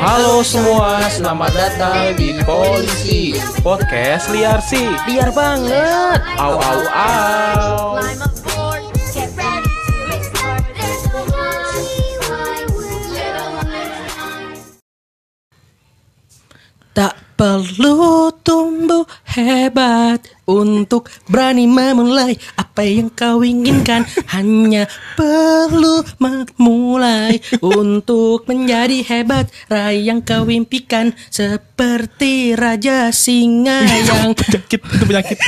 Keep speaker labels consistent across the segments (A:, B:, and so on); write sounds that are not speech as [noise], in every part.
A: Halo semua, selamat datang di Polisi Podcast Liar Sih. Liar banget. Au au au.
B: Climb aboard, get ready to explore. There's so much I would
C: Tak perlu tumbuh hebat untuk berani memulai apa yang
D: [laughs]
C: kau inginkan Hanya perlu memulai untuk menjadi hebat Raih yang kau impikan seperti raja singa
D: Iya,
C: yang
D: penyakit itu penyakit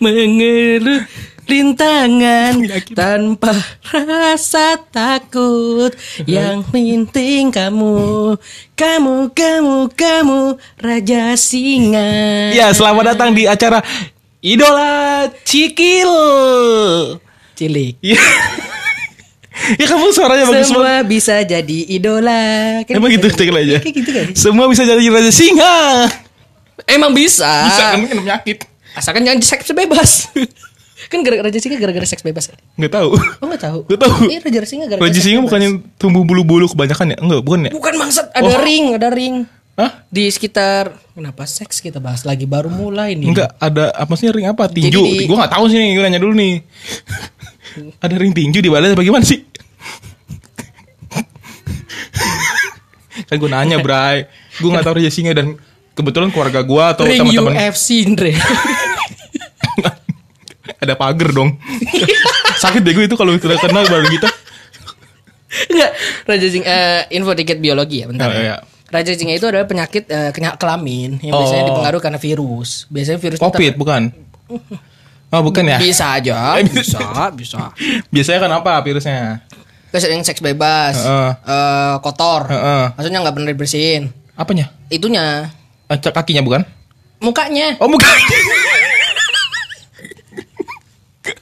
C: mengeluh rintangan
D: Yakin.
C: tanpa rasa takut yang penting kamu kamu kamu kamu raja singa
D: ya selamat datang di acara idola cikil
C: cilik
D: ya Ya, kamu suaranya bagus banget
C: semua bisa jadi idola Kan
D: emang gitu
C: kayak-
D: cikil aja
C: kayak gitu kan
D: semua bisa jadi raja singa
C: emang bisa,
D: bisa kan kena penyakit
C: asalkan jangan seks bebas [laughs] kan gara raja singa gara-gara seks bebas
D: nggak tahu
C: oh nggak tahu
D: Nggak tahu.
C: eh, raja singa gara-gara
D: raja
C: seks
D: singa
C: bebas.
D: bukannya tumbuh bulu-bulu kebanyakan ya enggak bukan ya
C: bukan mangsat ada
D: Oh.
C: ring ada ring
D: Hah?
C: di sekitar kenapa seks kita bahas lagi baru mulai nih
D: Enggak, ada apa sih ring apa? Tinju.
C: Iya. Jadi di-
D: Gua nggak tahu sih nih, gua nanya dulu
C: [laughs]
D: nih. ada ring tinju di balai bagaimana sih? kan gue nanya, Bray. Gue nggak tahu raja singa dan kebetulan keluarga gua atau
C: ring
D: teman-teman
C: UFC Indre
D: ada pagar dong. Sakit deh gue itu kalau sudah kenal baru gitu. kita.
C: [laughs] enggak Raja Singa eh, info dikit biologi ya bentar
D: Oh,
C: ya.
D: iya.
C: Raja Singa itu adalah penyakit eh, kena kelamin yang biasanya
D: Oh.
C: dipengaruhi karena virus biasanya virus itu
D: Covid bukan? Oh, bukan ya?
C: ter- bisa aja
D: [laughs] Eh, bisa.
C: bisa bisa
D: Biasanya kan apa virusnya?
C: terus yang seks bebas
D: Heeh.
C: eh, kotor
D: Heeh.
C: maksudnya nggak benar dibersihin
D: Apanya?
C: itunya
D: Eh, Kakinya bukan?
C: mukanya
D: Oh muka.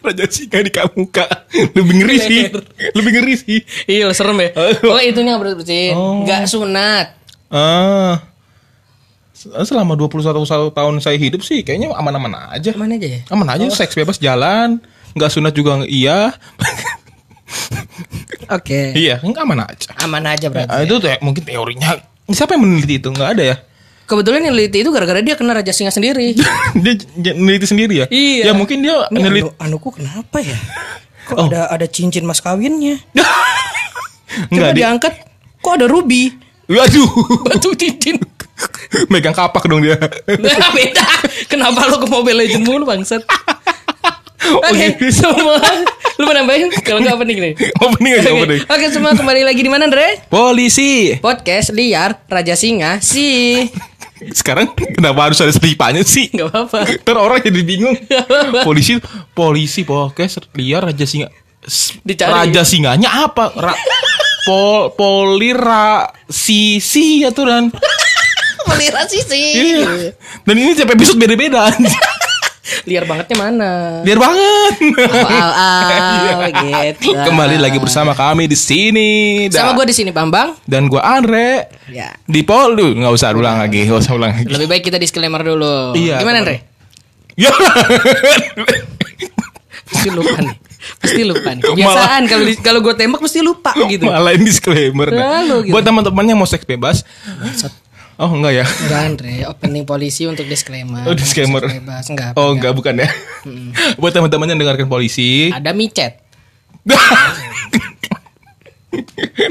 D: Raja singa di muka. Lebih ngeri sih. Lebih ngeri sih.
C: iya serem
D: [laughs]
C: ya oh itunya nggak benar dibersihin
D: Oh.
C: nggak sunat
D: Ah. Selama 21 satu tahun saya hidup sih kayaknya aman-aman aja.
C: mana aja ya
D: Aman aja seks bebas jalan, nggak sunat juga nggak- iya.
C: oke
D: iya, kan aman aja.
C: aman aja berarti
D: Ah, itu te- mungkin teorinya. Siapa yang meneliti itu? Nggak ada ya. [laughs]
C: Kebetulan yang neliti itu gara-gara dia kena raja singa sendiri.
D: dia j- meneliti sendiri ya?
C: Iya.
D: Ya mungkin dia
C: Ini
D: meneliti [laughs]
C: anu, anuku kenapa ya? Kok
D: Oh.
C: ada ada cincin mas kawinnya?
D: Nggak,
C: Coba
D: dia.
C: diangkat. Kok ada ruby?
D: Waduh.
C: Batu cincin.
D: Megang kapak dong dia.
C: Nah, [laughs] beda. Kenapa lo ke Mobile Legend mulu bangsat?
D: [laughs] Oh,
C: Oke,
D: gitu.
C: [laughs] semua. Lu mau nambahin? Kalau nggak apa nih gini.
D: opening aja
C: Oke,
D: opening.
C: Oke, semua kembali lagi di mana, Andre?
D: Polisi.
C: Podcast liar Raja
D: [laughs]
C: Singa si
D: Sekarang kenapa harus ada selipanya sih?
C: nggak apa-apa.
D: Ntar orang jadi bingung.
C: apa-apa.
D: Polisi, polisi, podcast liar raja singa. S-
C: Dicari.
D: Raja singanya apa? Ra- pol polira si si ya tuh dan.
C: Melira sisi.
D: Iya. Dan ini tiap episode beda-beda. anjing.
C: Liar bangetnya mana?
D: Liar banget. Iya.
C: Wow,
D: [laughs]
C: gitu.
D: Kembali lagi bersama kami di sini.
C: Sama gue di sini Bambang.
D: dan gua Andre
C: Ya.
D: di pol Duh, nggak usah ulang lagi, nggak usah ulang lagi.
C: Lebih baik kita disclaimer dulu.
D: Iya, teman.
C: Gimana Andre?
D: Ya.
C: Pasti lupa nih. Pasti lupa
D: [laughs]
C: nih. Kebiasaan kalau di- kalau gue tembak mesti lupa gitu.
D: Malahin disclaimer dah.
C: Selalu gitu.
D: Buat teman-teman yang mau seks bebas Oh enggak ya
C: Enggak Andre, opening polisi untuk disclaimer.
D: Oh disclaimer
C: Harus Bebas enggak?
D: Oh enggak bukan ya Buat teman-teman yang dengarkan polisi
C: Ada micet.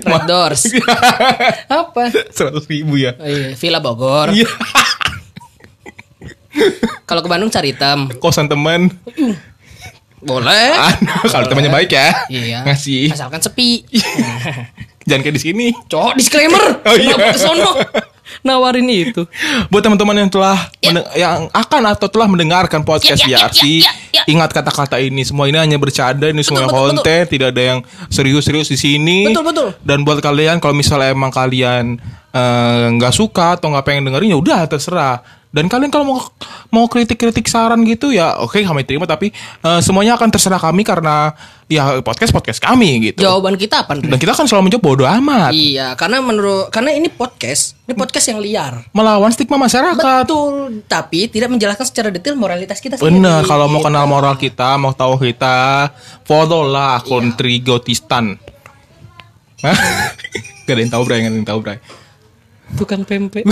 C: Red Doors. Apa?
D: [laughs] Seratus ribu ya
C: Oh, iya. Villa Bogor.
D: Iya.
C: Kalau ke Bandung cari item.
D: Kosan teman
C: Boleh.
D: Ah, Kalau temannya baik ya
C: Eh? Iya.
D: Ngasih
C: Asalkan sepi. Nah.
D: Jangan kayak di sini
C: Cok, disclaimer.
D: [laughs] Oh, iya.
C: Kenapa ke sono? Nawarin itu.
D: Buat teman-teman yang telah
C: Ya.
D: mende- yang akan atau telah mendengarkan podcast
B: Ya, ya, ya,
D: BRC,
B: ya, ya, ya.
D: ingat kata-kata ini. Semua ini hanya bercanda, ini semua
C: betul,
D: konten, tidak ada yang serius-serius di sini.
C: Betul, betul.
D: Dan buat kalian kalau misalnya emang kalian eh, nggak suka atau nggak pengen dengerin ya udah terserah. Dan kalian kalau mau mau kritik-kritik saran gitu ya oke kami terima tapi eh, semuanya akan terserah kami karena ya podcast podcast kami gitu.
C: Jawaban kita apa, Andre?
D: Dan kita akan selalu menjawab bodoh amat
C: Iya, karena menurut karena ini podcast, ini podcast yang liar.
D: melawan stigma masyarakat.
C: Betul, tapi tidak menjelaskan secara detail moralitas kita sendiri.
D: Bener, kalau mau kan- kenal moral kita, mau
C: Iya. [laughs]
D: tahu kita, follow lah akun Trigotistan. Hah? Gak ada yang tahu Bray, gak ada yang tahu Bray. [laughs]
C: Tukang pempek.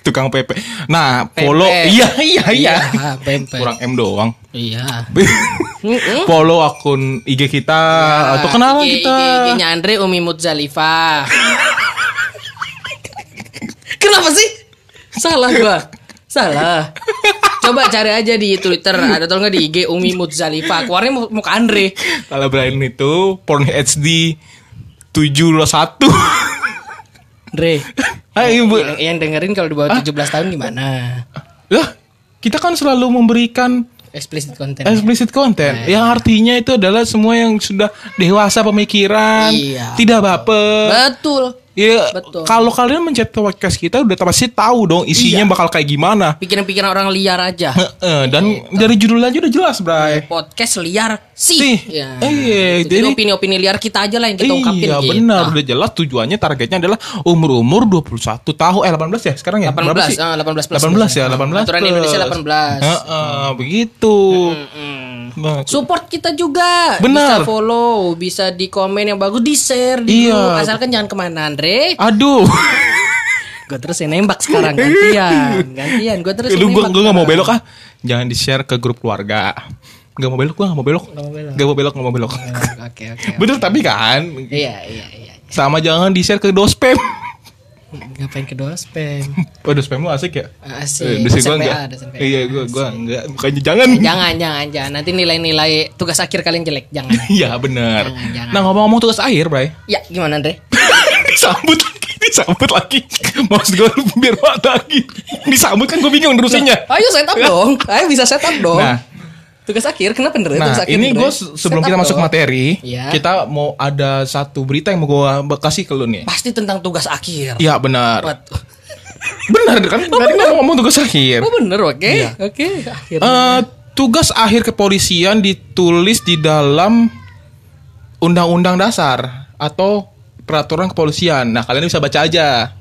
D: Tukang PP. Nah,
C: Pepe.
D: Polo. Iya, iya, [laughs] iya.
C: Iya, pempek.
D: Kurang M doang. [laughs]
C: Iya.
D: Follow akun IG kita
C: Iya, Nah,
D: atau kenalan
C: IG-
D: kita.
C: IG nya Andre Umi Mutzalifah. Kenapa sih? Salah gua. Salah. Coba cari aja di Twitter ada tolong nggak di IG Umi Mutzalifah. Keluarnya mu- muka Andre.
D: Kalau Brian itu porn HD [laughs] 701.
C: Andre.
D: Ayo ibu.
C: Yang, yang dengerin kalau di bawah 17 tahun gimana?
D: Lah, kita kan selalu memberikan
C: Explicit content.
D: explicit
C: Iya.
D: content yang artinya itu adalah semua yang sudah dewasa pemikiran,
C: Iya.
D: tidak baper.
C: Betul.
D: Ya,
C: Betul.
D: kalau kalian mencet podcast kita udah pasti tahu dong
C: Iya.
D: isinya bakal kayak gimana.
C: Pikiran-pikiran orang liar aja.
D: Heeh, dan
C: Iya,
D: dari judul aja udah jelas, Bray.
C: Podcast liar
D: Sih.
C: sih. Ya.
D: Iya,
C: Gitu. Jadi
D: jadi-
C: opini-opini liar kita aja lah yang kita ungkapin
D: Iya
C: gitu.
D: benar udah jelas tujuannya targetnya adalah umur-umur 21 tahun eh 18 ya sekarang ya Berapa
C: 18,
D: sih?
C: ah, 18 plus.
D: 18 ya 18
C: Aturan
D: plus.
C: Indonesia 18.
D: Heeh, begitu Nah,
C: Hmm. Support kita juga
D: Benar.
C: Bisa follow Bisa di komen yang bagus Di share di
D: Iya.
C: grup. Asalkan jangan kemana Andre
D: aduh [laughs]
C: Gue terus yang nembak sekarang Gantian Gantian Gue terus yang
D: Iya. lu gua
C: nembak
D: gua nggak mau
C: sekarang.
D: belok ah jangan di share ke grup keluarga Gak mau belok gua gak mau belok Gak mau belok Iya. gak mau belok
C: [laughs] Oke oke
D: [laughs] bener tapi kan
C: Iya iya iya
D: sama jangan di share ke [laughs] dospem
C: Ngapain ke Ah, doa spam
D: Oh, dospem lu asik ya Eh,
C: Asik
D: dosen gua
C: SNPA,
D: enggak.
C: dosen PA.
D: Iya gua gua enggak Bukannya jangan
C: Jangan jangan jangan Nanti nilai-nilai Tugas akhir kalian jelek Jangan
D: [laughs] [laughs] Iya bener
C: Jangan, jangan.
D: Nah ngomong-ngomong tugas air Bray [laughs]
C: Ya gimana Andre
D: disambut lagi disambut lagi maksud gue biar buat lagi disambut kan gue bingung nerusinnya
C: Ayo set
D: [laughs]
C: up dong Ayo bisa set up dong
D: Nah.
C: Tugas akhir Kenapa Andre
D: nah
C: Tugas akhir,
D: ini
C: Andre?
D: gue se- sebelum
C: Set
D: kita
C: up
D: masuk
C: dong.
D: materi
C: Iya.
D: kita mau ada satu berita yang mau gue kasih ke lu nih
C: Pasti tentang tugas akhir
D: Iya benar
C: Buat-
D: benar kan tadi gua mau ngomong tugas akhir
C: Oh bener oke
D: Iya.
C: Oke akhirnya
D: Eh, tugas akhir kepolisian ditulis di dalam undang-undang dasar atau peraturan kepolisian nah kalian bisa baca aja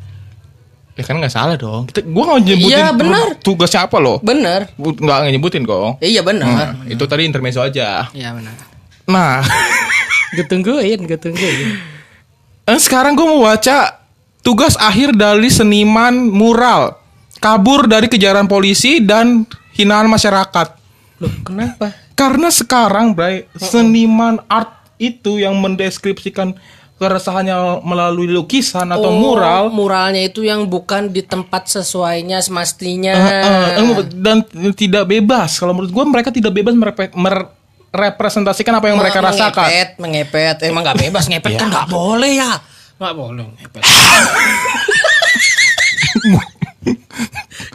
D: ya kan nggak salah dong kita gue nggak nyebutin
C: Iya,
D: tu-
C: benar.
D: tugasnya apa loh
C: Bener
D: Bu- nggak nggak nyebutin kok.
C: Iya
D: Nah,
C: benar.
D: itu tadi intermezzo aja.
C: Iya benar.
D: Nah, [laughs]
C: Gue tungguin, gue tungguin.
D: eh, sekarang gue mau baca tugas akhir dari seniman mural kabur dari kejaran polisi dan hinaan masyarakat.
C: Loh, kenapa?
D: Karena sekarang, Bray, seniman art itu yang mendeskripsikan keresahannya melalui lukisan atau
C: Oh,
D: mural.
C: Muralnya itu yang bukan di tempat sesuainya semestinya.
D: Eh, eh, dan tidak bebas. Kalau menurut gue mereka tidak bebas merepre- merepresentasikan apa yang mereka
C: Mengepet,
D: rasakan. Iya.
C: Mengepet, mengepet. Eh, Emang nggak bebas ngepet kan nggak boleh ya. Nggak boleh
D: [laughs]
C: ngepet.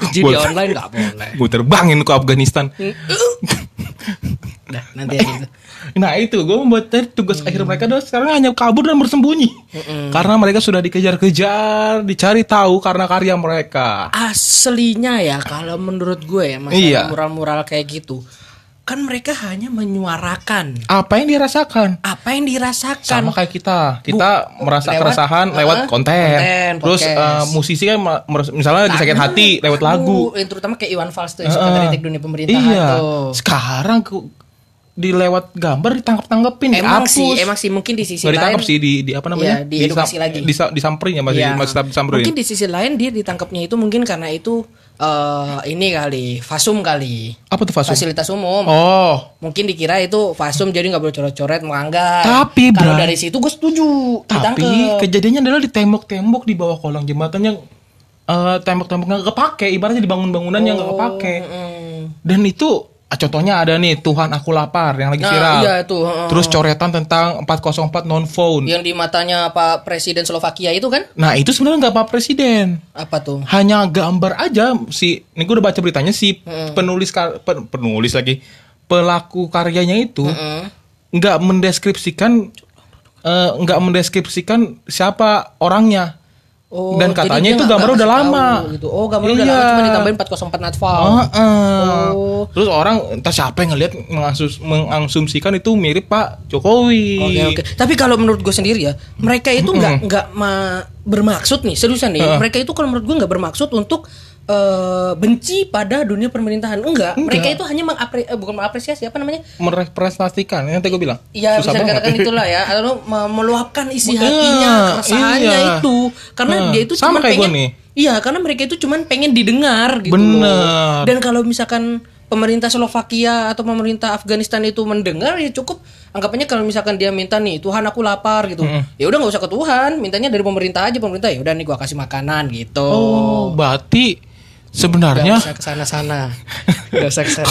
C: Judi
D: Boleh.
C: online nggak boleh.
D: Gue terbangin ke Afghanistan. [laughs]
C: Dah, nanti aja itu.
D: Nah itu gue membuat tadi tugas
C: Hmm.
D: akhir mereka adalah sekarang hanya kabur dan bersembunyi karena mereka sudah dikejar-kejar, dicari tahu karena karya mereka.
C: Aslinya ya kalau menurut gue ya masalah
D: Iya.
C: mural-mural kayak gitu kan mereka hanya menyuarakan
D: Apa yang dirasakan?
C: apa yang dirasakan
D: Sama kayak kita, kita merasa
C: Kan lewat-
D: keresahan lewat
C: Heeh,
D: konten.
C: konten,
D: Terus
C: podcast.
D: eh, musisi kan mer- mer- misalnya lagi sakit hati lewat lagu.
C: Aduh, eh, terutama kayak Iwan Fals tuh yang suka kritik dunia pemerintahan
D: iya.
C: tuh.
D: Sekarang ku- di lewat gambar ditangkap-tanggepin,
C: Emang
D: dihapus.
C: sih, emang sih mungkin di sisi
D: Nggak ditangkap
C: lain.
D: sih di, di apa namanya?
C: Iya, diedukasi
D: Disam-
C: lagi.
D: disa- disamperin ya masih
C: Iya.
D: masih tetap disamperin.
C: Mungkin di sisi lain dia ditangkapnya itu mungkin karena itu eh ini kali, fasum kali.
D: apa tuh Fasum?
C: Fasilitas umum.
D: Oh,
C: Mungkin dikira itu fasum jadi nggak boleh coret-coret melanggar.
D: Tapi,
C: kalau
D: Bray.
C: dari situ gue setuju.
D: Tapi
C: ditangkep.
D: kejadiannya adalah di tembok-tembok di bawah kolong jembatan yang eh, tembok-tembok nggak kepake, ibaratnya di bangun-bangunan yang nggak
C: Oh.
D: kepake.
C: Mm.
D: Dan itu ah, contohnya ada nih Tuhan aku lapar yang lagi
C: Nah,
D: viral.
C: iya itu, heeh. Iya.
D: Terus coretan tentang 404 non phone.
C: yang di matanya Pak Presiden Slovakia itu kan
D: Nah itu sebenarnya nggak apa presiden,
C: apa tuh?
D: hanya gambar aja si. Ini gue udah baca beritanya si penulis kar- pen- penulis lagi pelaku karyanya itu
C: Mm.
D: nggak mendeskripsikan eh, nggak mendeskripsikan siapa orangnya.
C: Oh,
D: Dan
C: jadi
D: katanya
C: dia
D: itu
C: nggak-
D: gambarnya
C: nggak
D: udah
C: kasih
D: lama.
C: tahu gitu. Oh, gambarnya udah
D: Iya.
C: lama cuma ditambahin 404 natfal.
D: Heeh.
C: Oh.
D: Terus orang entah siapa yang ngelihat mengasus- mengasumsikan itu mirip Pak Jokowi.
C: Oke oke. Tapi kalau menurut gue sendiri ya, mereka itu nggak nggak ma- bermaksud nih seriusan nih. Mereka itu kalau menurut gue nggak bermaksud untuk eh, benci pada dunia pemerintahan enggak, mereka itu hanya mengapre eh, bukan mengapresiasi apa namanya
D: merepresentasikan yang tadi gue bilang
C: Ya
D: susah
C: bisa
D: banget
C: dikatakan itulah ya Lalu me- meluapkan isi
D: Iya,
C: hatinya Keresahannya
D: iya.
C: itu Karena
D: Nah,
C: dia itu
D: sama
C: cuman
D: kayak
C: pengen
D: gua nih.
C: Iya karena mereka itu cuman pengen didengar gitu
D: Bener.
C: loh. Dan kalau misalkan pemerintah Slovakia atau pemerintah Afghanistan itu mendengar ya cukup anggapannya kalau misalkan dia minta nih Tuhan aku lapar gitu ya udah nggak usah ke Tuhan mintanya dari pemerintah aja pemerintah ya udah nih gua kasih makanan gitu
D: oh ya. berarti sebenarnya
C: Nggak usah kesana sana nggak
D: [laughs]
C: usah kesana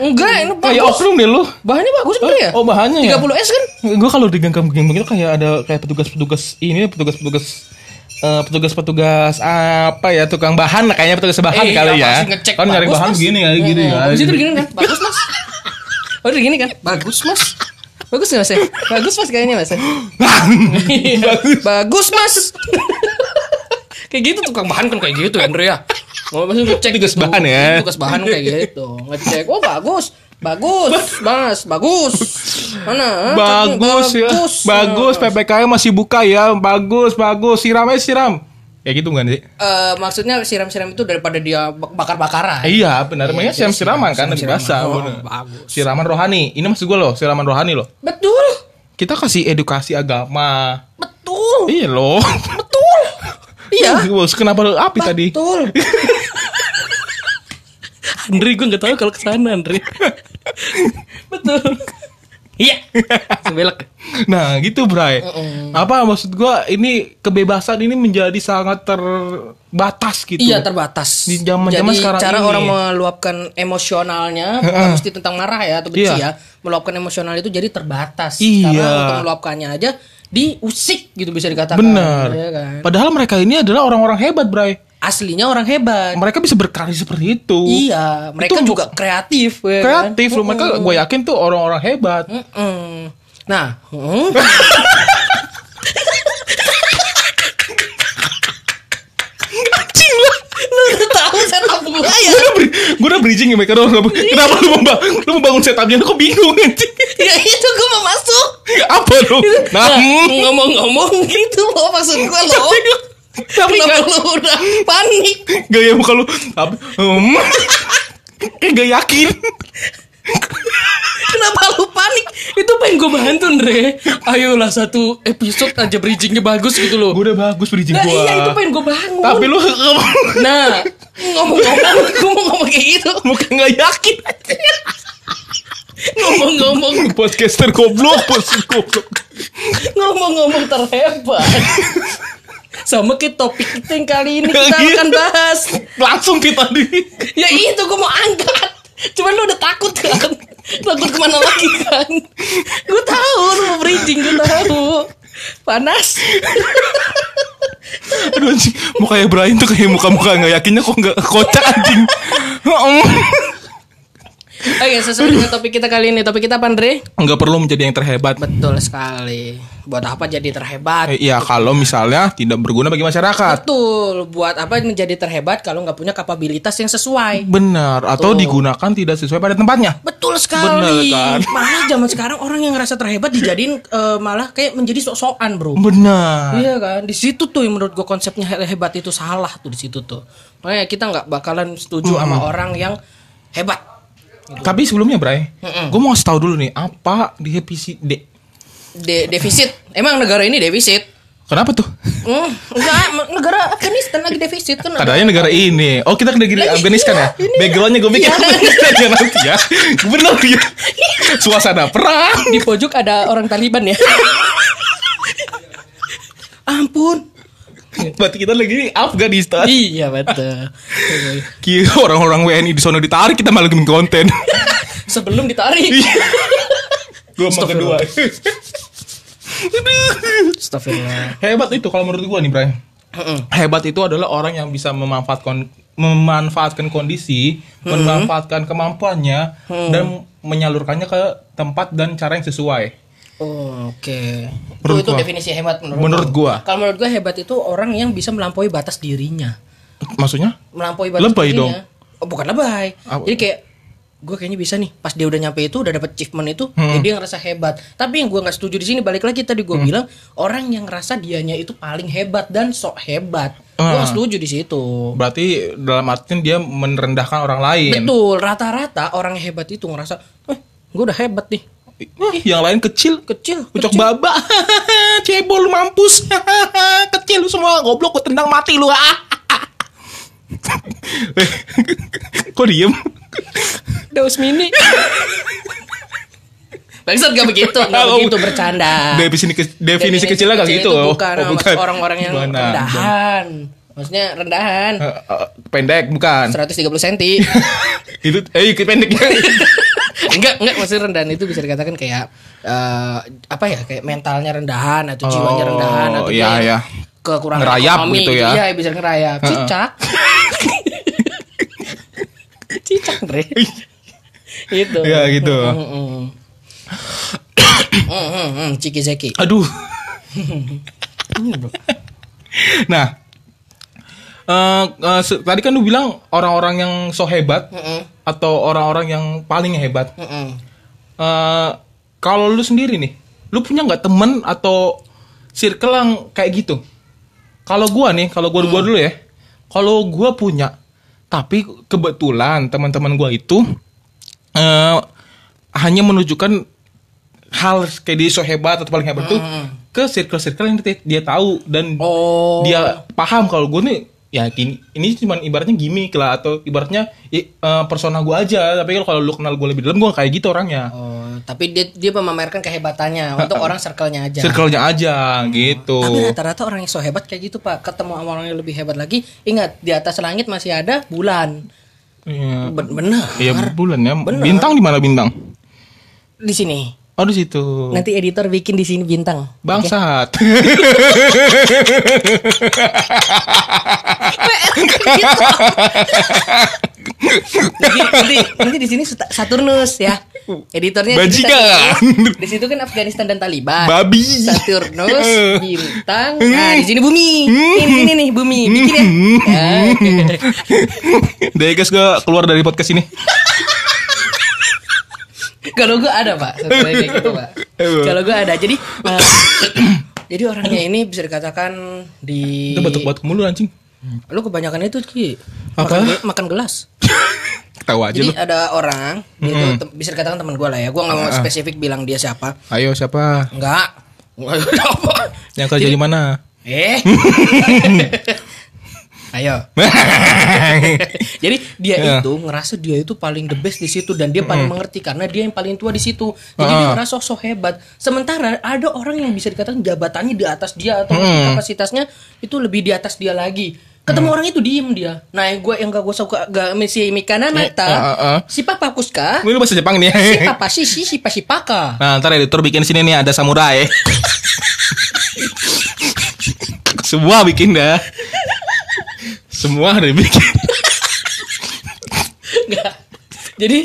C: enggak ini
D: kayak
C: bagus
D: Oh, oknum deh lu
C: bahannya bagus bener ya
D: ya, oh bahannya ya?
C: 30 s kan
D: gue kalau di genggam genggam gitu kayak ada kayak petugas petugas ini petugas petugas petugas petugas apa ya tukang bahan lah, kayaknya petugas bahan
C: Eh,
D: kali
C: iya,
D: ya
C: pasti ngecek.
D: kan nyari
C: Bagus,
D: bahan
C: Mas.
D: gini ya
C: Eh,
D: gini ya
C: Habis itu gini kan, bagus mas. Oh udah gini kan, bagus mas. Bagus nggak mas ya? Bagus mas kayaknya mas. ya?
D: Iya, bagus
C: Bagus mas. [laughs] kayak gitu tukang bahan kan kayak gitu ya, Andre ya. Oh, masih ngecek
D: Tugas
C: gitu.
D: bahan ya.
C: Tugas bahan kayak gitu, ngecek. Oh bagus, bagus, mas, bagus. Mana? ah, cek,
D: [laughs] bagus ya
C: bagus,
D: bagus ppkm masih buka ya bagus bagus siram eh siram ya gitu bukan sih
C: Eh, maksudnya siram-siram itu daripada dia bakar-bakaran.
D: iya benar makanya siram siraman kan lebih basah
C: siram-siraman. Oh,
D: bener.
C: bagus.
D: siraman rohani ini maksud gue loh siraman rohani loh
C: Betul,
D: kita kasih edukasi agama
C: betul.
D: iya loh
C: Betul. Iya.
D: Bos, kenapa lu api tadi
C: Betul. Andri gue nggak tahu kalau kesana Andri. Betul. Iya. Sebelak.
D: [laughs] Nah gitu Bray Apa maksud gua ini kebebasan ini menjadi sangat terbatas gitu
C: Iya terbatas.
D: Di zaman-zaman
C: Jadi,
D: sekarang
C: cara
D: ini.
C: orang meluapkan emosionalnya bukan mesti tentang marah ya atau benci
D: Iya.
C: ya. Meluapkan emosional itu jadi terbatas.
D: Iya.
C: Karena untuk meluapkannya aja diusik gitu bisa dikatakan.
D: Bener
C: Iya kan?
D: Padahal mereka ini adalah orang-orang hebat Bray
C: Aslinya orang hebat.
D: Mereka bisa berkarya seperti itu
C: Eh. Iya, mereka
D: Itu
C: juga kreatif. ya kan?
D: Kreatif loh Mereka gue yakin tuh orang-orang hebat
C: Mm. Nah, mm. anjing lu, lu udah tahu setup gua
D: Gue
C: ya?
D: udah, beri, [laughs] gua udah bridging ya mereka doang
C: Iya.
D: Kenapa lu mau, ba- lu mau bangun setupnya Lu kok bingung anjing [laughs]
C: ya itu gua mau masuk.
D: Apa lu Nah,
C: Nah,
D: hmm.
C: ngomong-ngomong gitu loh maksud gua loh. Kenapa lu udah panik?
D: Gaya muka lu Tapi hmm. [laughs] Kayak gak yakin
C: [laughs] Kenapa lu panik? Itu pengen gua bantu, Andre. Ayolah satu episode aja bridgingnya bagus gitu loh.
D: Gue udah bagus bridging
C: Nah,
D: gue
C: iya itu pengen gua bangun.
D: Tapi lu [laughs]
C: Nah, ngomong-ngomong, [laughs] gua mau ngomong kayak gitu.
D: Muka gak yakin
C: Ngomong-ngomong,
D: Podcaster goblok Podcaster goblok
C: ngomong-ngomong terhebat. Sama kayak topik kita yang kali ini kita
D: Iya.
C: akan bahas.
D: Langsung kita di
C: Ya itu gue mau angkat. Cuman lu udah takut kan? Takut kemana lagi kan? Gue tahu lu mau bridging, gue tahu. Panas.
D: Aduh anjing Mukanya Brian tuh kayak muka-muka gak yakinnya kok gak kocak anjing [laughs]
C: Oke, sesuai dengan topik kita kali ini. Topik kita apa, Andre?
D: Gak perlu menjadi yang terhebat
C: Betul sekali. Buat apa jadi terhebat?
D: Eh, Iya kalau misalnya tidak berguna bagi masyarakat
C: Betul. Buat apa menjadi terhebat kalau nggak punya kapabilitas yang sesuai?
D: Benar Atau
C: Tuh.
D: digunakan tidak sesuai pada tempatnya
C: Betul sekali.
D: Bener kan?
C: [laughs] Malah zaman sekarang orang yang ngerasa terhebat dijadiin eh, malah kayak menjadi sok-sokan, Bro.
D: Benar
C: Iya kan? Di situ tuh yang menurut gue konsepnya he- hebat itu salah tuh di situ tuh. Makanya kita nggak bakalan setuju sama orang yang hebat.
D: Tapi sebelumnya Bray Gue mau kasih tau dulu nih Apa di episode
C: De- defisit. Emang negara ini defisit?
D: Kenapa tuh?
C: Hmm, enggak, em- negara Afghanistan lagi defisit kan.
D: Katanya negara ini. Oh kita ke negeri
C: Lagi,
D: Afghanistan
C: iya,
D: ya?
C: ini.
D: Backgroundnya gue [laughs] mikir
C: Iya.
D: Afghanistan ya nanti ya. Bener ya. Suasana perang.
C: [laughs] Di pojok ada orang Taliban ya. [laughs] Ampun.
D: Berarti kita lagi di Afghanistan.
C: Iya
D: [laughs]
C: betul.
D: Kira orang-orang WNI di sono ditarik kita malah bikin
C: [laughs]
D: konten.
C: Sebelum ditarik.
D: Gue mau kedua.
C: Astagfirullah.
D: Aduh.
C: Astagfirullah.
D: Hebat itu kalau menurut gue nih Bray.
C: [laughs] Mm-mm.
D: Hebat itu adalah orang yang bisa memanfaatkan memanfaatkan kondisi,
C: Hmm.
D: memanfaatkan kemampuannya dan menyalurkannya ke tempat dan cara yang sesuai.
C: Oh, Oke.
D: Menurut
C: Oh, Itu, itu
D: gua.
C: definisi hebat menurut
D: Menurut
C: lu.
D: gua.
C: Kalau menurut gua hebat itu orang yang bisa melampaui batas dirinya.
D: Maksudnya?
C: Melampaui batas
D: Lebay
C: dirinya. Oh, bukan lebay.
D: Apa?
C: Jadi kayak gue kayaknya bisa nih pas dia udah nyampe itu udah dapet achievement itu ya dia ngerasa hebat tapi yang gue nggak setuju di sini balik lagi tadi gue bilang orang yang ngerasa dianya itu paling hebat dan sok hebat gue
D: Ah.
C: nggak setuju di situ
D: Berarti dalam artian dia merendahkan orang lain.
C: betul rata-rata orang hebat itu ngerasa eh gue udah hebat nih
D: Ih, Yang lain kecil,
C: kecil
D: Ucok baba. [laughs] Cebol lu mampus. [laughs] Kecil lu semua goblok gua tendang mati lu. [laughs] Kok diem?
C: daus mini Bangsat gak begitu, gak
D: Oh,
C: begitu bercanda.
D: Definisi, ke- definisi kecilnya gak
C: kecil
D: gitu.
C: Ah. itu
D: Oh,
C: Bukan,
D: oh,
C: maksud orang-orang yang
D: Gimana?
C: rendahan. Maksudnya rendahan.
D: Eh, eh, pendek bukan.
C: 130 cm.
D: [laughs] itu eh ikut pendek.
C: enggak, enggak maksudnya rendahan itu bisa dikatakan kayak eh, apa ya? Kayak mentalnya rendahan
D: Oh,
C: atau jiwanya rendahan atau
D: iya,
C: kayak
D: iya.
C: kekurangan
D: Ngerayap gitu ya.
C: Iya, bisa ngerayap.
D: [laughs]
C: Cicak. Cicak, Bre.
D: Iya.
C: itu.
D: [laughs] ya gitu.
C: Mm-mm. [coughs] Mm-mm, [coughs] Ciki Zeki.
D: Aduh. nah, eh, eh, se- tadi kan lu bilang orang-orang yang so hebat atau orang-orang yang paling hebat.
C: Mm-mm.
D: Eh, kalau lu sendiri nih, lu punya nggak temen atau circle yang kayak gitu? Kalau gua nih, kalau gua, gua dulu ya, kalau gua punya, tapi kebetulan teman-teman gua itu eh hanya menunjukkan hal kayak dia so hebat atau paling hebat tuh ke circle-circle yang dia, dia tahu dan
C: Oh.
D: dia paham kalau gue nih ya gini- ini cuman ibaratnya gimmick lah atau ibaratnya i- eh, persona gue aja tapi kalau lu kenal gue lebih dalam gue kayak gitu orangnya
C: Oh, tapi dia dia memamerkan kehebatannya untuk orang circle-nya aja.
D: circle-nya aja gitu
C: Ya. Tapi rata-rata orang yang so hebat kayak gitu, Pak. Ketemu sama orang yang lebih hebat lagi, ingat di atas langit masih ada bulan.
D: iya
C: Ben- bener.
D: Iya, bulan ya bintang di mana bintang
C: Di sini.
D: oh di situ
C: Nanti editor bikin di sini bintang.
D: bangsat [laughs]
C: Nanti nanti, nanti di sini Sat- Saturnus
D: [laughs]
C: ya. Editornya nanti
D: Bajingan.
C: Saturnus. Di situ kan Afghanistan dan Taliban.
D: babi [laughs]
C: Saturnus,
D: Eh.
C: bintang. Nah, di sini bumi. Ini ini nih bumi.
D: Hmm.
C: Bikin ya.
D: [laughs]
C: Ya.
D: deh guys gue keluar dari podcast ini
C: Kalau gue ada pak, satu lagi kayak gitu pak. Kalau gue ada, jadi eh, [coughs] jadi orangnya ini bisa dikatakan di.
D: itu batuk batuk mulu anjing
C: Lu kebanyakan itu ki.
D: Apa?
C: Makan, gel- makan gelas.
D: ketawa aja
C: Jadi
D: lu Hmm. Ah,
C: ada orang, dia itu tem- bisa dikatakan teman gue lah ya. Gue nggak mau spesifik bilang dia siapa.
D: ayo siapa
C: Enggak.
D: [laughs] yang kerja di
C: [laughs]
D: mana
C: eh. Ayo. [laughs] Jadi dia
D: Ya.
C: itu ngerasa dia itu paling the best di situ dan dia paling mengerti karena dia yang paling tua di situ. Jadi dia
D: Ah.
C: ngerasa sok hebat. Sementara ada orang yang bisa dikatakan jabatannya di atas dia atau kapasitasnya itu lebih di atas dia lagi. Ketemu orang itu diem dia. Nah, yang gue yang gak gue suka gak si Mikana Nata,
D: ah, ah, ah.
C: si Papa Kuska,
D: ini lu bahasa Jepang nih [laughs]
C: si Papa si si si Pasi Paka.
D: Nah, ntar editor bikin sini nih ada
C: [laughs]
D: samurai. Semua bikin dah. Semua ada bikin.
C: Enggak. Jadi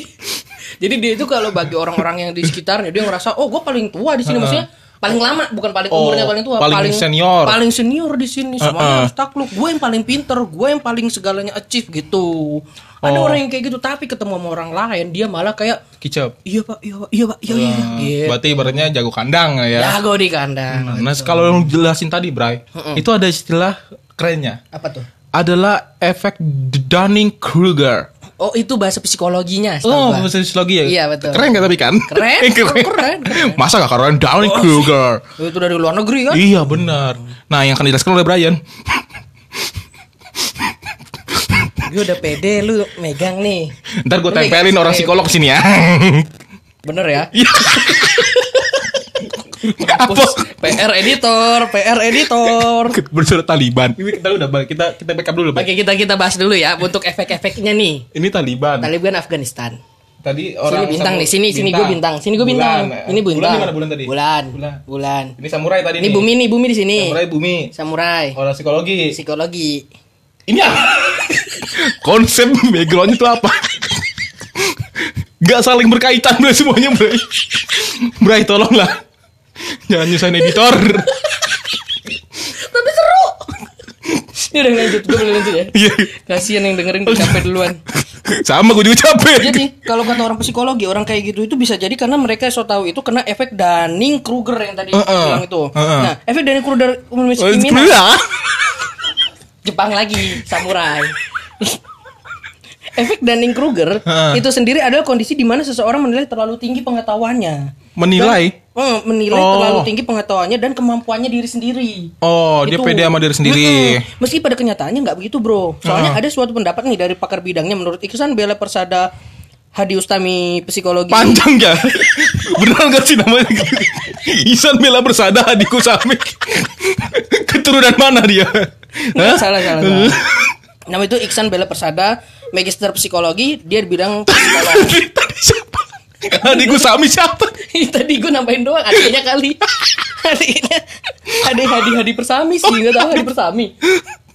C: jadi dia itu kalau bagi orang-orang yang di sekitarnya dia ngerasa oh gue paling tua di sini maksudnya paling lama bukan paling
D: Oh,
C: umurnya paling tua
D: paling senior.
C: paling senior di sini
D: Heeh.
C: semuanya harus takluk gue yang paling pinter gue yang paling segalanya achieve gitu ada
D: Oh.
C: orang yang kayak gitu tapi ketemu sama orang lain dia malah kayak
D: Kicap.
C: iya pak iya pak iya pak iya iya gitu.
D: Berarti ibaratnya jago kandang ya.
C: jago di kandang
D: Nah, kalau yang jelasin tadi, Bray, itu ada istilah kerennya.
C: apa tuh
D: Adalah efek Dunning-Kruger.
C: oh itu bahasa psikologinya setahu
D: Oh,
C: gua.
D: bahasa psikologi ya?
C: Iya, betul.
D: Keren gak tapi kan?
C: Keren,
D: [laughs] keren.
C: keren, Oh. keren.
D: Masa gak keren Dunning-Kruger?
C: itu dari luar negeri kan
D: Iya benar. Nah yang akan dijelaskan oleh Brian.
C: gue udah pede lu megang nih
D: Ntar gue tempelin orang psikolog sini ya. [laughs]
C: bener ya
D: Apa?
C: PR editor, PR editor.
D: Bersurat Taliban. Ini kita udah bang- kita kita backup dulu. Bang.
C: Oke, kita kita bahas dulu ya untuk efek-efeknya nih.
D: Ini Taliban.
C: Taliban Afghanistan.
D: Tadi
C: Sini
D: orang
C: bintang nih, sini sini gue bintang, sini gue bintang.
D: Bulan. ya. eh,
C: Ini
D: Bulan
C: bintang.
D: gimana bulan tadi?
C: Bulan.
D: Bulan.
C: Bulan.
D: Ini samurai tadi
C: Ini bumi nih, bumi di sini.
D: Samurai bumi.
C: Samurai.
D: Orang psikologi.
C: Psikologi.
D: Ini apa? Konsep backgroundnya itu apa? Gak saling berkaitan bro semuanya bro. Bray tolonglah. Jangan nyusahin editor.
C: Tapi
D: [laughs]
C: seru. Ini udah lanjut, gue boleh lanjut ya.
D: Iya. [laughs]
C: Kasihan yang dengerin udah capek duluan.
D: Sama gue juga capek.
C: Jadi Iya kalau kata orang psikologi orang kayak gitu itu bisa jadi karena mereka so tahu itu kena efek Dunning Kruger yang tadi
D: Heeh.
C: bilang itu.
D: Heeh.
C: Nah efek Dunning Kruger
D: Oh,
C: Kimina
D: iya.
C: Jepang lagi samurai. [laughs] efek Dunning Kruger
D: Heeh.
C: itu sendiri adalah kondisi di mana seseorang menilai terlalu tinggi pengetahuannya.
D: Menilai.
C: Eh, menilai
D: Oh.
C: terlalu tinggi pengetahuannya dan kemampuannya diri sendiri.
D: Oh, dia
C: Itu.
D: pede sama diri sendiri. Ah.
C: Mm-mm. Meski pada kenyataannya nggak begitu, bro. Soalnya ada suatu pendapat nih dari pakar bidangnya menurut Iksan Bela Persada Hadi Ustami psikologi.
D: Panjang ya. [laughs] Beneran gak sih namanya? [laughs] Isan Bella Bersada adikku Sami. [laughs] Keturunan mana dia? Hah?
C: Nggak, salah, salah, salah. Nama itu Iksan Bela Persada, magister psikologi, dia bilang [laughs] psikolog.
D: [laughs] Tadi siapa? Adikku Sami siapa? [laughs]
C: Tadi gue nambahin doang adiknya kali. [laughs] adiknya adik Hadi Hadi Persami sih, nggak tahu Hadi Persami.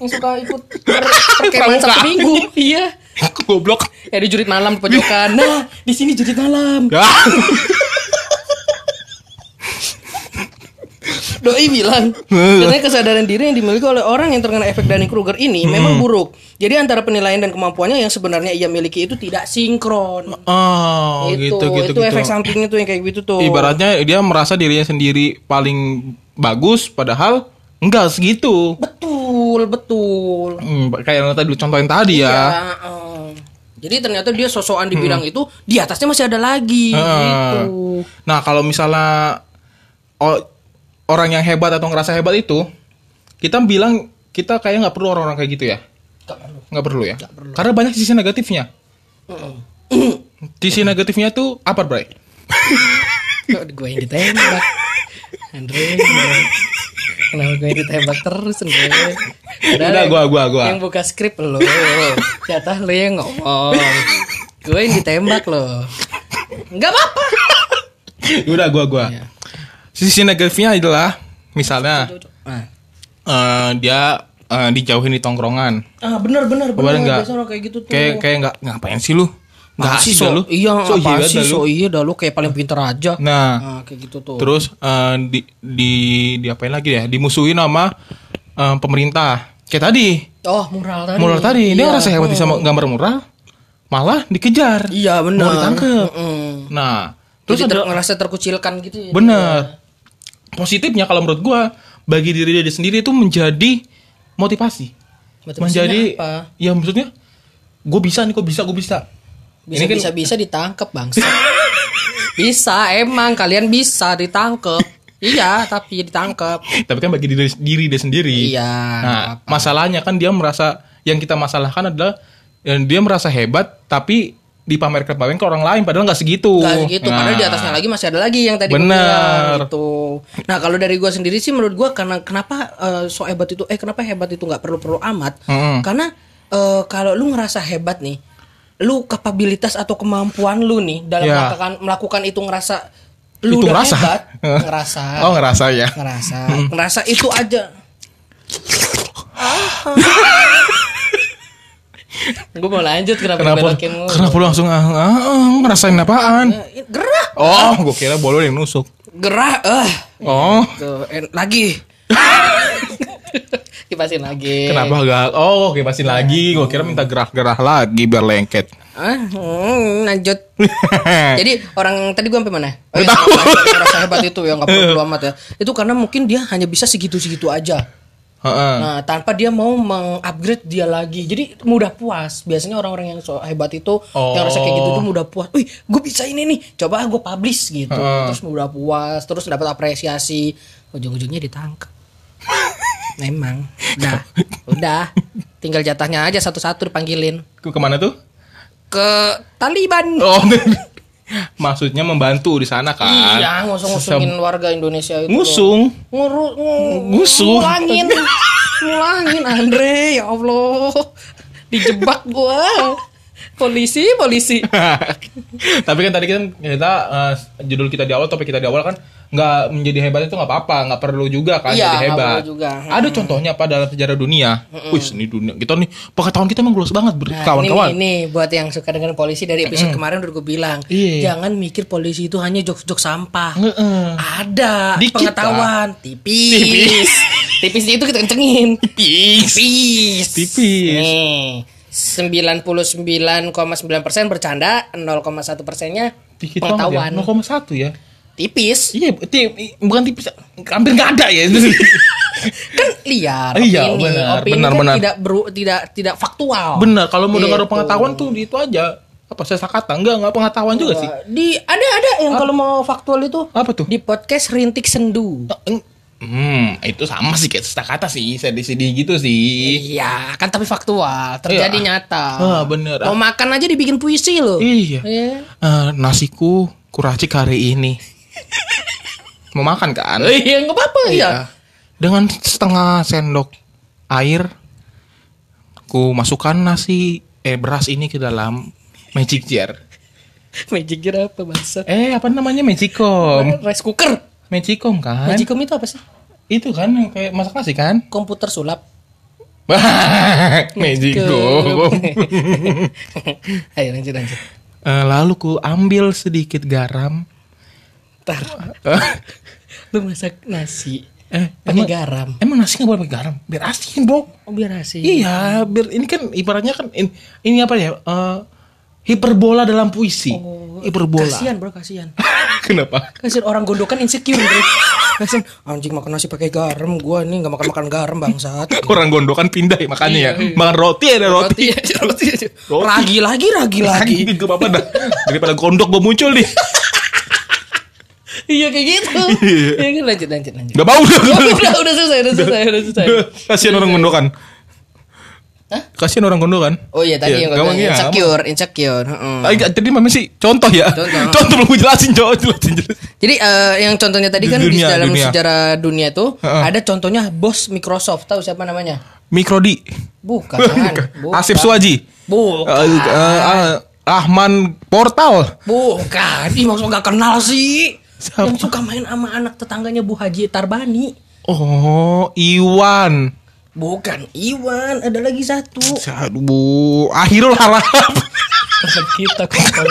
C: Yang suka ikut
D: [laughs]
C: per- perkemahan Sabtu
D: Pramugari.
C: Minggu. Iya.
D: Goblok. [laughs]
C: Ya di jurit malam di pojokan. Nah, di sini jurit malam.
D: Ah.
C: Doi bilang, katanya kesadaran diri yang dimiliki oleh orang yang terkena efek Dunning-Kruger ini memang buruk. Jadi antara penilaian dan kemampuannya yang sebenarnya ia miliki itu tidak sinkron.
D: Oh, gitu gitu
C: itu
D: gitu.
C: efek sampingnya tuh yang kayak gitu tuh.
D: Ibaratnya dia merasa dirinya sendiri paling bagus padahal enggak segitu.
C: Betul, betul.
D: Hmm, kayak yang tadi lu contohin tadi ya.
C: Ya, eh. Jadi ternyata dia sosokan di bidang itu, di atasnya masih ada lagi
D: Heeh.
C: gitu.
D: Nah, kalau misalnya o- orang yang hebat atau ngerasa hebat itu, kita bilang kita kayak nggak perlu orang-orang kayak gitu ya.
C: Nggak perlu.
D: Nggak perlu ya. Karena banyak sisi negatifnya. sisi negatifnya tuh apa,
C: [laughs]
D: Bray?
C: Kok gue yang ditembak? Andre, Andre. kenapa gue yang ditembak terus Andre?
D: Udah,
C: yang-
D: gua, gua, gua.
C: Yang buka skrip lo, jatah lo yang ngomong. Gue yang ditembak lo. Enggak apa-apa. Ya
D: Udah gua gua. Iya. Sisi negatifnya adalah misalnya
C: Nah.
D: eh, dia eh, dijauhin di tongkrongan.
C: Ah benar benar
D: Kemarin nggak?
C: benar biasa orang kayak gitu tuh.
D: Kayak kayak nggak ngapain sih lu? Nggak
C: Apa sih
D: asik dah
C: so,
D: lu.
C: iya
D: So,
C: apa
D: iya
C: sih
D: dah lu.
C: so iya dah lu kayak paling pinter aja.
D: Nah,
C: Nah, kayak gitu tuh.
D: Terus eh, di di diapain lagi ya? Dimusuhin sama eh, pemerintah. Kayak tadi,
C: Oh, mural tadi.
D: mural tadi dia
C: Iya.
D: ngerasa hebat bisa gambar mural, malah dikejar.
C: Iya, benar.
D: Mau ditangkep.
C: Mm-mm.
D: Nah,
C: Terus
D: terus ada
C: ngerasa terkucilkan gitu ya.
D: bener positifnya kalau menurut gua bagi diri dia sendiri itu menjadi motivasi.
C: Motivasinya
D: menjadi
C: apa?
D: ya maksudnya gue bisa nih, gue bisa, gue bisa.
C: Bisa
D: Ini kan-
C: bisa bisa ditangkep bangsa. bisa emang kalian bisa ditangkep. iya, tapi ditangkep.
D: Tapi kan bagi diri, diri dia sendiri.
C: Iya,
D: Nah,
C: nggak apa-apa.
D: masalahnya kan dia merasa yang kita masalahkan adalah yang dia merasa hebat tapi dipamer-pamerin ke orang lain padahal nggak segitu.
C: Gak gitu,
D: Nah,
C: padahal di atasnya lagi masih ada lagi yang tadi gua
D: Bener.
C: bilang gitu. Nah, kalau dari gua sendiri sih menurut gua karena kenapa eh, so hebat itu eh kenapa hebat itu nggak perlu-perlu amat?
D: Mm-mm.
C: Karena eh, kalau lu ngerasa hebat nih, lu kapabilitas atau kemampuan lu nih dalam
D: Ya.
C: melakukan melakukan itu ngerasa lu
D: Itu
C: udah
D: ngerasa? [laughs]
C: hebat, ngerasa.
D: Oh ngerasa ya.
C: ngerasa, ngerasa itu aja. gue mau lanjut kenapa,
D: Kenapa?
C: dibelokin mulu?
D: Kenapa lu langsung ah, ah, ah, ngerasain apaan?
C: Eh, gerak
D: Oh, gue kira bolu yang nusuk.
C: gerak eh
D: Oh,
C: Tuh, en- lagi. [laughs] Kipasin lagi.
D: kenapa gak? Oh,
C: Iya.
D: kipasin lagi. Gue kira minta gerah-gerah lagi biar lengket.
C: Ah,
D: [laughs]
C: hmm, lanjut. Jadi orang tadi gua sampai mana? Oh,
D: Nggak tahu.
C: Orang rasa hebat itu ya nggak
D: [laughs]
C: perlu amat ya. Itu karena mungkin dia hanya bisa segitu-segitu aja.
D: Heeh.
C: Nah, tanpa dia mau mengupgrade dia lagi. Jadi mudah puas. Biasanya orang-orang yang so hebat itu yang rasa kayak gitu tuh mudah puas. Wih, gue bisa ini nih. Coba gue publish gitu. Terus mudah puas, terus dapat apresiasi. Ujung-ujungnya ditangkap. Memang. Nah, udah. Tinggal jatahnya aja satu-satu dipanggilin
D: Ke kemana tuh?
C: ke Taliban.
D: Oh, [laughs] maksudnya membantu di sana kan?
C: Iya, ngusung-ngusungin warga Indonesia itu.
D: Ngusung. [laughs]
C: ngurus
D: Ngusuh. [laughs]
C: ngulangin ngulangin Andre ya Allah dijebak gua polisi polisi
D: Tapi kan tadi kita kita eh, judul kita di awal topik kita di awal kan nggak menjadi hebat itu nggak apa-apa nggak perlu juga kan
C: Iya,
D: jadi
C: nggak
D: hebat.
C: perlu juga.
D: Ada contohnya apa dalam sejarah dunia? Wih ini dunia kita nih pengetahuan kita emang luas banget ber-
C: Nah,
D: kawan-kawan.
C: ini, nih, ini buat yang suka dengan polisi dari episode kemarin udah gue bilang
D: Iya.
C: jangan mikir polisi itu hanya jok-jok sampah
D: Heeh.
C: ada
D: Dikit,
C: pengetahuan tipis tipis tipis itu kita kencengin
D: Tipis.
C: tipis
D: Tipis.
C: Nih, 99,9% bercanda, 0,1 persennya
D: Dikit ya.
C: pengetahuan.
D: banget ya. 0,1 ya.
C: Tipis.
D: Iya, ti- i- bukan tipis, hampir nggak ada ya. [laughs] itu.
C: Kan liar
D: Iya,
C: opini.
D: benar,
C: opini
D: benar,
C: kan
D: benar.
C: tidak beru- tidak tidak faktual.
D: Benar, kalau mau dengar
C: Gitu.
D: pengetahuan tuh di itu aja. Apa saya sakata? Enggak, enggak pengetahuan
C: Iya,
D: juga sih.
C: Eh, Di ada ada yang kalau mau faktual itu
D: Apa tuh?
C: di podcast Rintik Sendu.
D: Hmm, itu sama sih kayak sakata sih, sedih-sedih gitu sih.
C: Iya, kan tapi faktual, terjadi
D: Iya.
C: nyata.
D: Ah, bener.
C: Mau makan aja dibikin puisi loh.
D: Iya.
C: Iya. [laughs]
D: Eh, nasiku kuracik hari ini. mau makan kan?
C: Eh, Iya, enggak apa-apa iya.
D: Dengan setengah sendok air ku masukkan nasi eh beras ini ke dalam magic jar.
C: Magic jar apa bangsa?
D: Eh, apa namanya magicom?
C: Rice cooker.
D: Magicom kan?
C: Magicom itu apa sih?
D: Itu kan yang kayak masak nasi kan? [laughs]
C: Komputer sulap.
D: Magicom.
C: [laughs] Ayo lanjut lanjut.
D: Eh, lalu ku ambil sedikit garam.
C: Ntar lu masak nasi
D: eh,
C: pakai
D: emang-
C: garam.
D: Emang nasi nggak boleh pakai garam? Biar asin, Bok.
C: Oh, biar asin.
D: Iya, biar ini kan ibaratnya kan in- ini, apa ya? eh, hiperbola dalam puisi. hiperbola.
C: Oh, Kasihan bro, kasihan.
D: [laughs] Kenapa?
C: Kasihan orang gondokan insecure bro. Kasihan anjing makan nasi pakai garam, gua nih nggak makan makan garam bangsat.
D: Orang gondokan pindah ya, makanya
C: Iya,
D: ya. Makan roti ada roti.
C: Roti, aja, roti, aja. Ragi lagi, ragi lagi.
D: Lagi gue apa dah. Daripada gondok gue muncul
C: [laughs]
D: nih.
C: Iya kayak gitu. Iya kan lanjut lanjut lanjut.
D: Gak bau dah.
C: udah udah selesai, udah selesai, udah selesai.
D: Kasihan orang gondokan.
C: Hah?
D: Kasihan orang gondokan.
C: Oh iya tadi yang
D: gak
C: gua bilang
D: mau-
C: insecure, insecure. heeh.
D: Ah, enggak, jadi mami sih contoh ya.
C: Contoh.
D: [laughs] Contoh belum gue jelasin, Jo. Jelasin, jelasin.
C: Jadi eh, yang contohnya tadi
D: Di
C: kan di
D: dunia,
C: dalam
D: dunia.
C: sejarah dunia tuh
D: Heeh.
C: ada contohnya bos Microsoft, tahu siapa namanya?
D: Mikrodi. [laughs]
C: Bukan. bukan.
D: Asif Suwaji.
C: Bukan.
D: Eh, eh, ah, Ahman Portal.
C: Bukan. Ih, maksud gak kenal sih.
D: Siapa?
C: Yang suka main sama anak tetangganya Bu Haji Tarbani.
D: Oh, Iwan.
C: Bukan Iwan, ada lagi satu.
D: Aduh, Bu. Akhirul Harap.
C: kita kotor.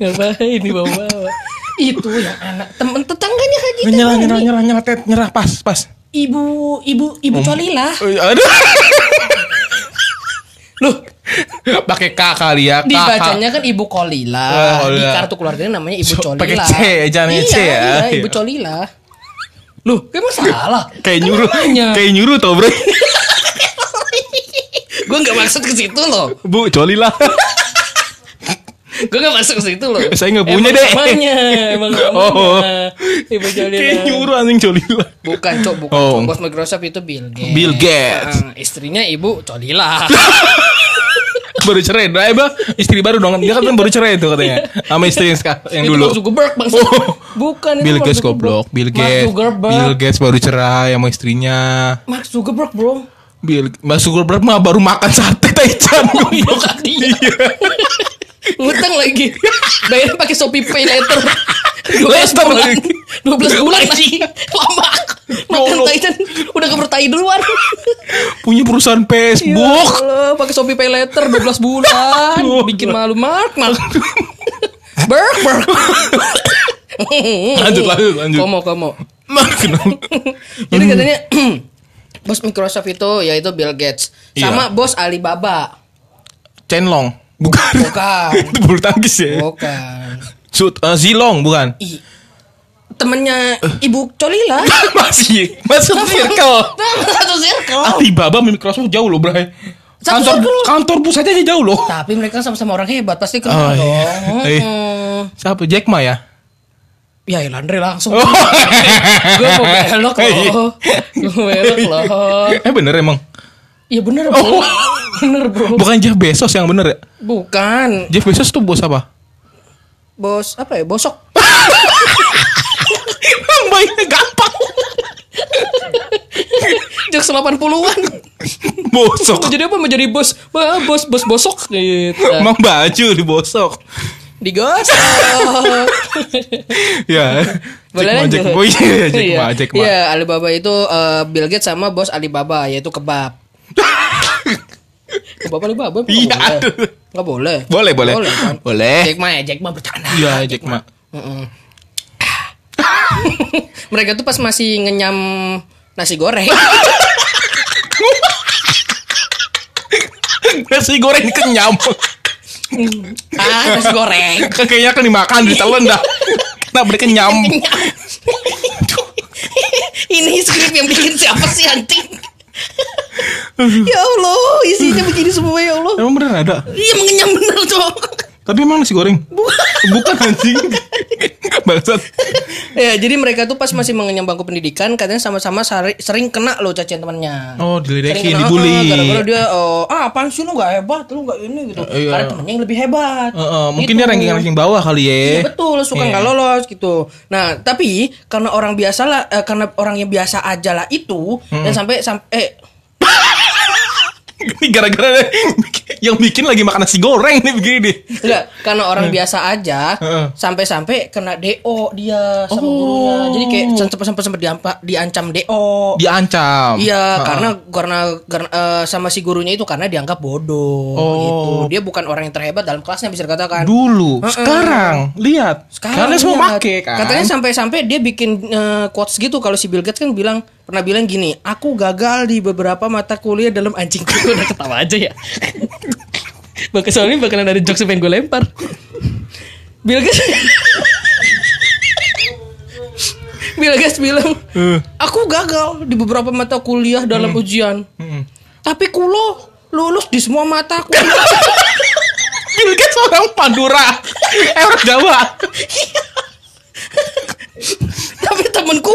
C: Ngapain dibawa-bawa? Itu yang anak temen tetangganya Haji
D: nyerah, nyerah,
C: Tarbani.
D: nyerah, nyerah, Ted. nyerah, pas, pas.
C: Ibu, ibu, ibu Colila.
D: Eh, Aduh. [laughs]
C: Loh,
D: Pakai K kali ya. K, K.
C: dibacanya kan ibu Kolila.
D: Oh,
C: Di
D: Kolila.
C: kartu keluarganya namanya ibu
D: So,
C: Colila.
D: pakai C, jangan
C: iya,
D: C ya.
C: Iya, ibu
D: Iya.
C: Colila. Loh, emang salah?
D: Kayak nyuruh.
C: Kan namanya.
D: Kayak nyuruh tau, Bro.
C: gue nggak maksud ke situ loh
D: Bu, joli lah.
C: Kan gue nggak maksud ke situ loh
D: Saya nggak punya
C: Emang
D: deh.
C: namanya emang namanya
D: [laughs] Oh.
C: ibu Jolila
D: Kayak nyuruh anjing joli lah.
C: bukan cok bukan
D: Oh.
C: Cok. bos Microsoft itu Bill Gates
D: Bill Gates.
C: Heeh, istrinya ibu
D: [laughs]
C: Colila
D: baru cerai nah, bah istri baru dong dia kan baru cerai tuh katanya sama istri yang, sekarang- yang dulu
C: Iya. itu Mark Zuckerberg bang
D: Oh.
C: bukan itu
D: Bill
C: Mark
D: Gates
C: Zuckerberg.
D: goblok Bill
C: Mark
D: Gates
C: Zuckerberg
D: Bill Gates baru cerai sama istrinya
C: Mark Zuckerberg bro
D: Bill Mas Zuckerberg mah baru makan sate Taichan goblok [laughs]
C: iya. ngutang lagi bayar pakai Shopee Pay later 12
D: Later
C: bulan
D: lagi.
C: 12 bulan lagi lama makan
D: Goblok.
C: Titan udah keber tai duluan
D: punya perusahaan Facebook [laughs]
C: Ya Allah, pakai Shopee Pay Later 12 bulan.
D: Aduh.
C: Bikin malu Mark,
D: [laughs]
C: Mark. Berk, berk.
D: Lanjut, lanjut, lanjut. Hmm.
C: Komo, komo.
D: Nah, kenapa?
C: Jadi katanya [clears throat] bos Microsoft itu yaitu Bill Gates sama
D: Iya.
C: bos Alibaba.
D: Chenlong bukan
C: Bukan.
D: [laughs] itu bulu tangkis ya
C: Bukan.
D: Zut- eh, Zilong bukan [laughs]
C: I temennya Ibu Colila.
D: masih masuk circle Ah.
C: Satu circle.
D: Alibaba sama Microsoft jauh loh bray
C: Satu
D: kantor
C: circle.
D: kantor pusatnya aja jauh loh
C: Tapi mereka sama-sama orang hebat, pasti
D: Oh,
C: kenal dong.
D: iya.
C: Hmm.
D: Iya.
C: Mm-mm.
D: siapa Jack Ma
C: [laughs]
D: ya
C: Ya Landry langsung
D: Oh.
C: Gue mau belok loh Gue belok loh
D: Iya. eh bener emang
C: Iya bener bro
D: Oh.
C: Bener bro
D: bukan Jeff Bezos yang bener ya
C: Bukan
D: Jeff Bezos tuh bos
C: [laughs]
D: apa
C: Bos apa ya Bosok [laughs]
D: Namanya gampang
C: Jokes 80an
D: Bosok
C: Mau jadi apa mau jadi bos Wah, Bos bos bosok gitu
D: Emang baju dibosok [laughs]
C: Digosok
D: Ya
C: Boleh
D: Jack Ma,
C: lanjut
D: Jack Ma. Oh iya iya, Jack Ma Jack Ma
C: Iya Alibaba itu eh, Bill Gates sama bos Alibaba Yaitu kebab Kebab Alibaba apa?
D: Iya,
C: Nggak
D: aduh.
C: boleh Nggak boleh
D: Boleh boleh
C: kan?
D: Boleh
C: Jack Ma ya Jack Ma bercanda
D: Iya Jack Ma
C: Mm-mm. [laughs] Mereka tuh pas masih ngenyam nasi goreng.
D: nasi goreng kenyam.
C: [laughs] ah nasi goreng
D: Kayaknya kan dimakan ditelan dah. Kenapa dia kenyam?
C: Kenyang. [laughs] ini skrip yang bikin siapa sih anjing ya Allah isinya begini semua ya Allah
D: Emang bener ada?
C: iya mengenyam bener cok
D: Tapi emang nasi goreng? Bukan anjing. Bangsat.
C: ya jadi mereka tuh pas masih mengenyam bangku pendidikan katanya sama-sama sari- sering kena loh cacian temannya
D: Oh,
C: Sering
D: diledekin,
C: kena, ah,
D: dibully.
C: gara-gara dia oh, ah apaan sih lu gak hebat lu gak ini gitu
D: Eh, iya.
C: karena temennya yang lebih hebat
D: Eh, eh, mungkin
C: Gitu.
D: dia ranking ranking bawah kali ya.
C: Iya betul suka
D: Iya.
C: nggak lolos gitu. Nah tapi karena orang biasa lah, eh, karena orang yang biasa aja lah itu
D: Hmm.
C: dan sampai sampai eh,
D: Ini gara-gara dia- yang bikin lagi makan nasi goreng nih begini deh.
C: enggak karena orang biasa aja
D: Hmm. Heeh.
C: sampai-sampai kena do dia
D: Oh.
C: sama gurunya. Jadi kayak sempat sempat sempat diampa- diancam do.
D: Diancam. Heeh.
C: Iya, karena karena, karena, eh, sama si gurunya itu karena dianggap bodoh
D: Oh.
C: gitu. Dia bukan orang yang terhebat dalam kelasnya bisa dikatakan.
D: dulu,
C: Heeh.
D: sekarang lihat. Sekarang Kalian semua
C: lihat.
D: pakai kan.
C: Katanya sampai-sampai dia bikin eh, quotes gitu kalau si Bill Gates kan bilang pernah bilang gini, aku gagal di beberapa mata kuliah dalam anjing [laughs] Gua udah ketawa aja ya. [laughs] Bakal soalnya bakalan ada jokes yang pengen gue lempar. Bill Gates [laughs] Bill Gates bilang,
D: Eh.
C: aku gagal di beberapa mata kuliah dalam
D: Hmm.
C: ujian. Tapi kulo lulus di semua mata kuliah. [laughs]
D: Bill Gates orang Pandura. eh, orang Jawa.
C: Tapi temenku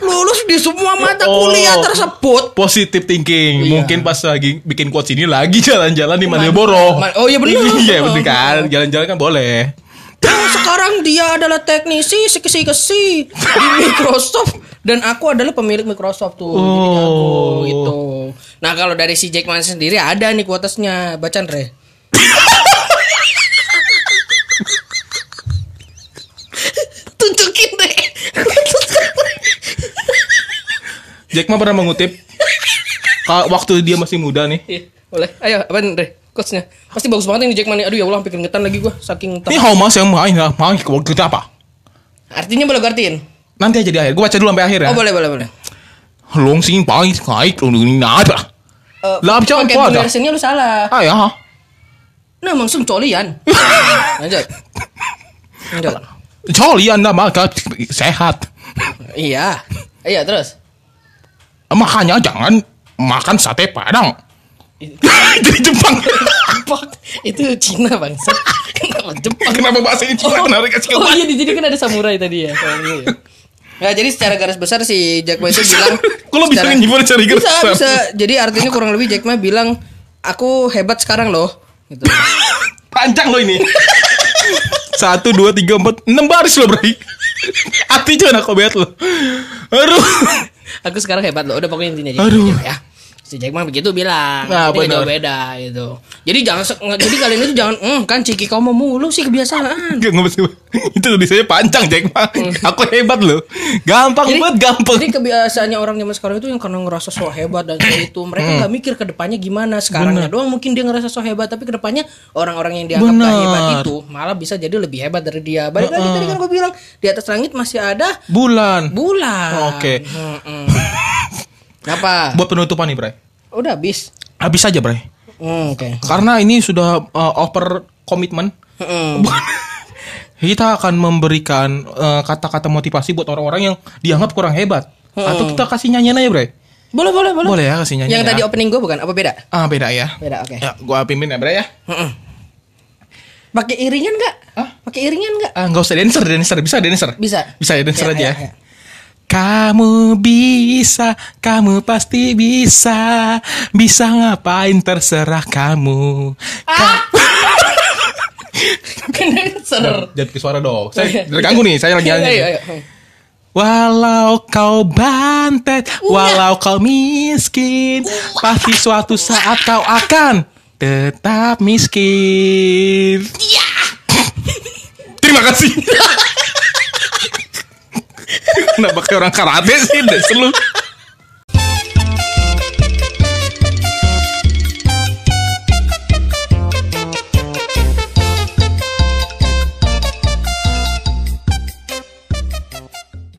C: lulus di semua mata
D: Oh.
C: kuliah tersebut.
D: Positive thinking.
C: Iya.
D: Mungkin pas lagi bikin quotes ini lagi [laughs] jalan-jalan di Malioboro.
C: Man- oh, iya bener.
D: Iya
C: [laughs]
D: bener kan. Jalan-jalan kan boleh.
C: Nah, sekarang dia adalah teknisi
D: [laughs]
C: sekesi-kesi di Microsoft dan aku adalah pemilik Microsoft tuh. Jadi aku
D: Oh.
C: gitu. Nah, kalau dari si Jackman sendiri ada nih kuotesnya. Bacaan
D: [laughs]
C: Re. Tunjukin deh.
D: Jack Ma pernah mengutip kalau waktu dia masih muda nih.
C: [laughs] Iya, boleh. Ayo, apaan Re? Quotesnya. Pasti bagus banget ini Jackman. nih. Aduh ya Allah, hampir keringetan lagi gua saking
D: Ini
C: ter-
D: Homas yang main lah, main ke waktu itu apa?
C: Artinya boleh artiin.
D: Nanti aja di akhir. Gue baca dulu sampai akhir ya.
C: Oh, boleh, boleh, boleh.
D: Long sing pai kai lu ini ada.
C: Eh,
D: Lah, apa
C: pakai
D: ada?
C: pronunciation-nya lu salah.
D: Ah ya.
C: Nah, langsung colian. [laughs] Lanjut. Lanjut.
D: Coli anda maka sehat.
C: Iya. Iya, terus.
D: Makanya jangan makan sate padang. [laughs] Jadi Jepang.
C: Pak, itu Cina bangsa. [laughs] Kenapa Jepang?
D: [laughs] Kenapa bahasa ini Cina? Kenapa dikasih
C: Oh
D: ke-
C: iya, jadi kan ada samurai tadi ya. soalnya ya. Nah, jadi secara garis besar si Jack Ma itu bilang
D: [laughs] Kok lo bisa
C: secara-
D: ngibur cari garis
C: Bisa,
D: besar?
C: bisa. Jadi artinya kurang lebih Jack Ma bilang, "Aku hebat sekarang loh." Gitu.
D: Panjang lo ini. Satu, dua, tiga, empat, enam baris lo berarti. Hati jangan aku lihat lo. Aduh.
C: Aku sekarang hebat loh. Udah pokoknya intinya aja.
D: Aduh.
C: Ya. Si Jack Ma begitu bilang.
D: Nah, benar.
C: Jadi nggak jauh beda gitu. Jadi jangan se- nge- jadi kalian itu jangan "Hmm, kan ciki kau mau mulu sih kebiasaan.
D: Gak ngebet [laughs] Itu tulisannya panjang Jack Ma. Aku hebat loh. Gampang banget gampang.
C: Hmm. Jadi kebiasaannya orang zaman sekarang itu yang karena ngerasa so hebat dan kayak itu
D: Hmm.
C: mereka nggak mikir ke depannya gimana. Sekarangnya doang mungkin dia ngerasa so hebat tapi ke depannya orang-orang yang dianggap nggak
D: Bener.
C: hebat itu malah bisa jadi lebih hebat dari dia. Balik lagi tadi kan gue bilang di atas langit masih ada
D: Bulan.
C: bulan.
D: Oke.
C: Mm-mm. Apa?
D: Buat penutupan nih, Bray.
C: Udah habis.
D: Habis aja, Bray.
C: Hmm, Oke.
D: Karena ini sudah uh, over
C: [laughs]
D: komitmen.
C: Mm-mm.
D: Kita akan memberikan uh, kata-kata motivasi buat orang-orang yang dianggap kurang hebat. Atau kita kasih nyanyian aja, Bray.
C: Boleh Hmm. boleh boleh.
D: Boleh ya kasih nyanyian.
C: Yang
D: ya?
C: tadi opening gue bukan? Apa beda?
D: ah beda ya.
C: Beda, oke.
D: Ya, gua pimpin ya, Bray ya.
C: Mm-mm. Pakai iringan nggak?
D: Hah?
C: Pakai iringan nggak?
D: Ah, nggak usah dancer, dancer bisa dancer.
C: Bisa.
D: Bisa ya dancer
C: Ya,
D: aja
C: ya,
D: ya.
C: ya. [laughs]
D: Kamu bisa, kamu pasti bisa, bisa ngapain terserah kamu.
C: Kena ser.
D: Jadi suara dong. Saya terganggu nih, saya lagi nyanyi.
C: Ayo, ayo, ayo.
D: Walau kau bantet, walau kau miskin, pasti suatu saat kau akan tetap miskin. Terima [laughs] kasih. Kenapa kayak orang karate sih, dasar lu?